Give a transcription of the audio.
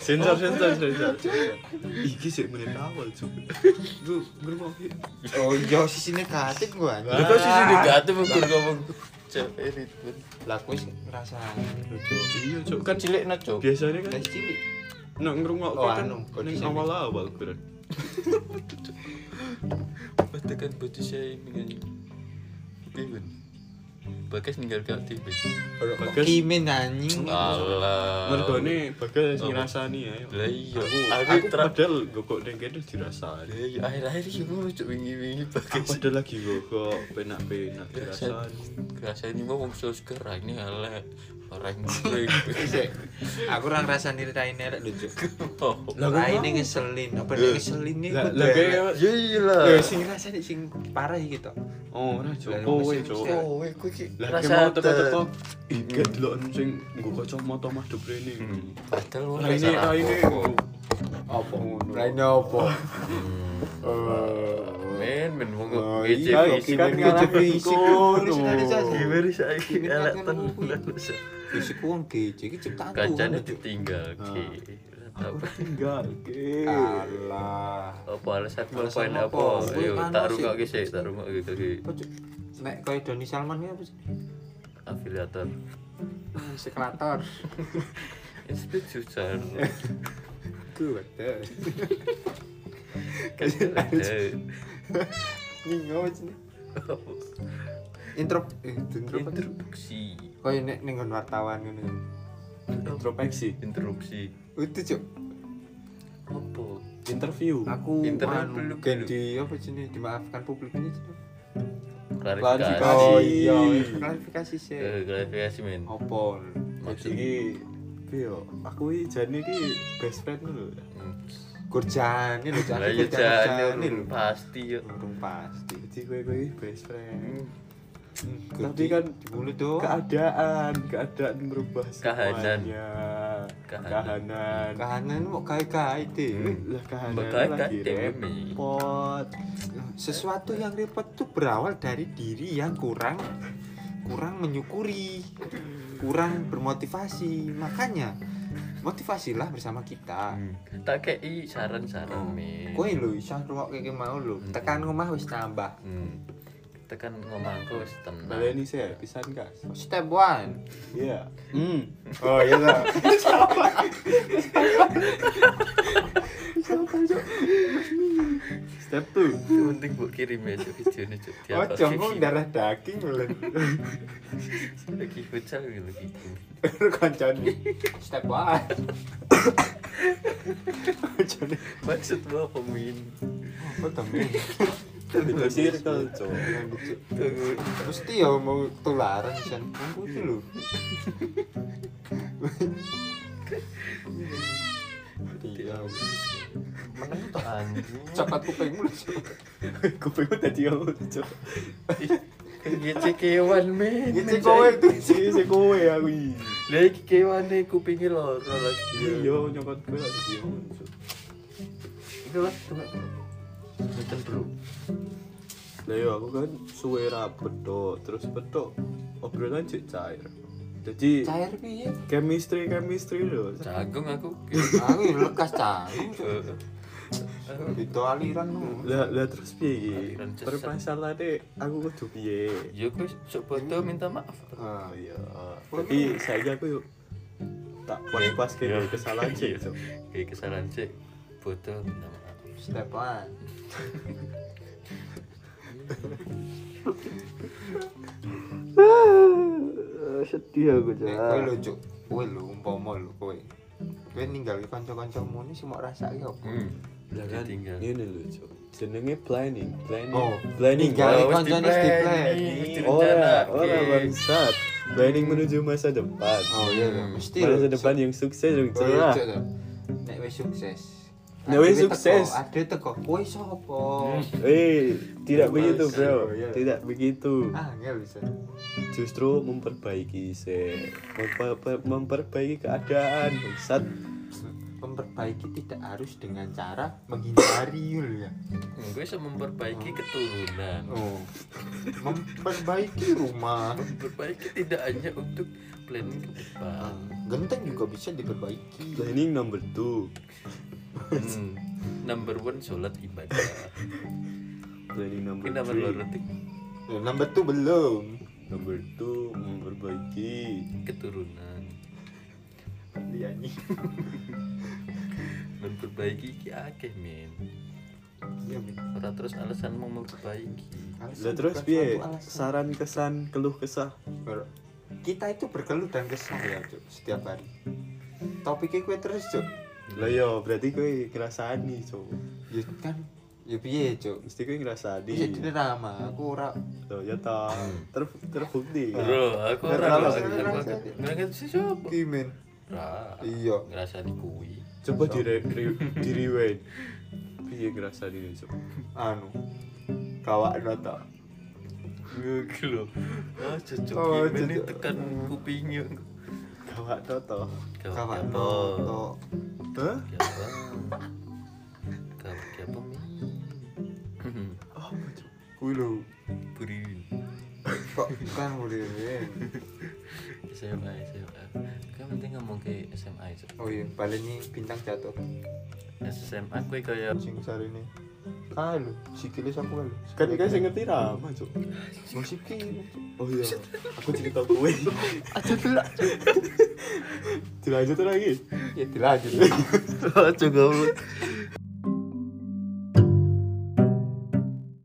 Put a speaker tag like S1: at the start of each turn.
S1: sensor sensor sensor iki sih menit awal cuk lu ngerti
S2: Oh iya sisi negatif gua
S1: Lah
S2: anjing.
S1: kok sisi negatif ukur ngomong cewek ribut.
S2: Lah kuwi ngrasani lho Cuk.
S1: Iya cuk kan
S3: cilik no cuk
S1: biasanya kan
S2: Dari cilik.
S1: nek ngrungok
S2: Oh,
S1: kan
S2: anu,
S1: ning
S2: body shaming.
S1: awal-awal berat.
S3: Batakan body shaming aja Pimpin Bagas ninggal aktif
S1: Bagas.
S2: Kimin anjing.
S3: Ah. Alah
S1: Mergone bagas
S3: Oh.
S1: ngrasani ae.
S3: Lah iya
S1: Aku
S3: Aku
S1: aku
S3: terang
S1: padahal gokok ning kene dirasani.
S3: Lah iya akhir-akhir ini ngono cuk wingi-wingi
S1: Aku
S3: Bagas
S1: padahal lagi gokok penak-penak dirasani.
S3: Kerasa ini mau wong sos gerah ini halah Orang gue
S2: Sik. Aku ora ngrasani raine rek lho Cuk.
S3: Oh
S1: Lah, kok
S2: Raine ngeselin, apa nek ngeselin iki
S1: Lah
S2: kudu
S1: lah
S2: elek.
S1: kayak
S3: Ya iya lah
S2: Ya sing ngrasani sing parah iki to.
S1: oh ora cuk
S2: Lah,
S1: kowe
S2: mesti-
S1: cuk.
S2: mesti-
S3: Oh gue ki
S1: Lah kayak
S3: rasa
S1: mau teko-teko
S3: ter-
S1: iki delok sing nggo kacamata mah deprene.
S3: Hmm. Padahal lu
S1: Lah Nah, ini
S3: salah
S1: lah ini
S3: apa-apa.
S2: Apa ngono? Nah, Raine apa?
S3: Men men wong
S2: Oh,
S3: ngece
S2: iya,
S3: isi
S2: kan
S3: men.
S2: ngalah fisik ngono
S3: Gimana sih aku
S2: Gimana
S3: elek
S2: kan
S3: tenan
S2: ngomong? Fisik wong gece iki ciptaan Tuhan.
S3: Kancane
S2: lho, Cuk.
S3: ditinggal ki.
S1: Aku tinggal.
S2: Alah.
S3: Apa alasan mau
S2: Alasan
S3: poin
S2: apa?
S3: apa?
S2: Gue
S3: Ayo
S2: panas
S3: tak
S2: sih.
S3: rungok ki sik, tak rungok ki ki.
S2: Apa, Cuk? Nek kaya Doni Salman iki apa sih?
S3: Afiliator.
S2: Sekrator.
S3: Itu susah.
S2: Good.
S3: Kan ada.
S2: gitu. Nyingo sini. Intro eh intro
S3: Interupsi.
S2: Kaya nek ning nggon wartawan ngono. Oh,
S1: Introspeksi,
S3: Interupsi.
S2: Itu Cuk.
S3: Apa?
S1: interview.
S2: Aku
S3: Internet
S2: anu,
S3: belum
S2: gen
S3: dulu.
S2: di apa sini dimaafkan publik ini. Cuk.
S3: Klarifikasi.
S1: Klarifikasi.
S2: Oh iya, klarifikasi sih.
S3: Eh, Klarifikasi men.
S2: Opo?
S3: Maksudnya.
S1: Iki piyo, aku iki jane iki best friend lho.
S2: Kurjane lho, Cuk.
S3: Hmm. Lah
S2: Aku
S3: iya jane
S2: kurjane lho.
S3: pasti yo.
S2: Urung pasti.
S1: Jadi kowe kowe iki best friend.
S2: Hmm. Tapi kan di mulut tuh
S1: Keadaan, keadaan merubah
S3: Kahanan.
S1: semuanya.
S3: Kahanan.
S1: Kahanan.
S2: kahanan mau kaya-kaya
S3: Hmm.
S2: deh.
S1: Lah kahanan
S3: Bakal
S1: lagi
S3: kadang, Mi.
S1: repot.
S2: Sesuatu yang repot tuh berawal dari diri yang kurang kurang menyukuri, kurang bermotivasi. Makanya motivasilah bersama kita.
S3: tak kei saran-saran men
S2: Kowe lho iso ngrungok kayak mau lho. Tekan rumah wis tambah.
S3: Hmm. tekan ngomongku wis tenang
S2: Nah.
S1: Baleni sih, pisan gas.
S2: Step one.
S1: Iya. Hmm.
S2: Oh iya toh.
S1: Step 2.
S3: Itu penting buat kirim ya cuk videonya cuk
S2: Oh,
S3: Diapa
S2: jongkong
S3: sih?
S2: darah daging lho.
S3: lagi futsal gitu, lagi
S2: Kancane. Step one. Kancane.
S3: maksudmu apa min
S2: Apa to, Mi?
S1: Itu circle, Cok.
S3: tunggu
S2: Mesti ya mau tularan kan. Aku itu lho.
S3: Iya. menang tuh anjing
S2: Cepat kupingmu lho.
S1: Kupingku tadi yo, Cok.
S3: ngece kewan men
S2: Ngece kowe itu.
S1: Si si kowe aku iki.
S3: lagi kewan nih kupingnya loro lagi
S1: Iya, nyokot kowe tadi yo, Cok.
S3: itu lah coba Betul bro
S1: Lah ya aku kan suwe ra bedok, terus bedok obrolan cek cair. Jadi
S2: Cair piye?
S1: chemistry chemistry lho.
S3: jagung aku
S2: Aku ya lekas canggung.
S3: Eh, aku
S2: Itu aliran lho.
S1: Lah lah terus piye iki?
S3: Aliran sesat.
S1: Permasalahannya aku kudu piye?
S3: Ya aku coba tuh minta maaf.
S1: Oh
S2: Ah,
S1: iya. Tapi saya aku yuk tak puas-puas
S3: Iya.
S1: kayak kesalahan sih. Cok.
S3: Kayak kesalahan sih. Foto minta maaf.
S2: Step one.
S1: Ah, Sedih aku
S2: Nek kowe lho, Cuk. Kowe lho umpama lho kowe. Kowe ninggal kanca-kancamu ini sih mau rasake opo?
S3: Hmm.
S1: Lah kan
S3: Ditinggal.
S1: ngene lho, Cuk. Jenenge planning, planning.
S2: Oh,
S1: planning.
S2: ninggal.
S1: Ora,
S3: wis
S2: kancane
S3: di-plan,
S2: di-plan.
S3: nih, wis
S1: Ora,
S3: direncanakan.
S1: ora bangsat. Planning menuju masa depan.
S2: Oh iya lho, mesti lho.
S1: Masa depan yang sukses dong, Cuk.
S2: Iya,
S1: lah.
S2: Cuk, lho. Nek wis sukses.
S1: Nek wis
S2: Ade teko,
S1: sukses.
S2: Ade teko, kowe sapa?
S1: Eh, tidak begitu, Bro.
S2: Iya.
S1: Tidak begitu.
S2: Ah, enggak bisa.
S1: Justru memperbaiki se memper- memperbaiki keadaan, bangsat.
S2: memperbaiki tidak harus dengan cara menghindari lho ya
S3: gue bisa Hmm, memperbaiki keturunan
S2: oh memperbaiki rumah
S3: memperbaiki tidak hanya untuk planning ke
S2: Ah,
S3: depan
S2: genteng juga bisa diperbaiki
S1: Planning number two.
S3: Hmm. number one sholat ibadah
S1: Planning number
S3: mungkin number
S1: three.
S3: loro tuh
S2: Eh, number tuh belum
S1: Number two memperbaiki.
S3: keturunan
S2: Iya nih.
S3: memperbaiki ki akeh men
S2: Iya, Min.
S3: ora terus alasan mau memperbaiki
S2: Alasan
S1: Lah terus
S2: bukan
S1: piye?
S2: suatu alasan.
S1: Saran kesan keluh kesah.
S2: Ber- kita itu berkeluh dan kesah ya Cuk, setiap hari topiknya kue terus Cuk.
S1: Lah yo berarti kowe ngrasani, Cuk.
S2: ya kan ya piye Cuk?
S1: Mesti kowe ngrasani.
S2: Iya drama, aku ora
S1: Loh, ya toh. Ter- terbukti.
S3: Bro, aku
S1: Nggak
S3: ora
S1: terlalu
S2: ngerasa-
S3: ngerasa- aku-
S2: ngerasa.
S3: ngerasa sih siapa?
S2: kimen.
S3: Ra.
S2: Iya.
S3: Ngerasani kuwi.
S1: Coba dire re- di rewind. Piye ngrasani, Cuk?
S2: Anu. Kawak nata.
S3: Ngono lho. Ah, cocok
S2: Oh,
S3: iki ini
S2: cocok.
S3: tekan kupingnya.
S1: Kawak toto.
S2: Kawak nata.
S1: Hah?
S3: Siapa? Kau siapa mi? Hmm,
S1: Apa, Cuk?
S2: Kuwi lho.
S3: Puri.
S2: Kok bukan boleh.
S3: SMA, SMA. Kan penting ngomong ke SMA itu.
S2: Oh iya, baleni bintang jatuh.
S3: SMA kuwi kaya
S2: Sing sari ini. Ah lho, sikilis aku lho.
S1: Kan iki sing ngerti ra, Cuk.
S2: Mau sikil.
S1: Oh iya, aku cerita kue.
S2: Aja gila.
S1: Dilanjut lagi.
S2: Ya dilanjut.
S3: cocok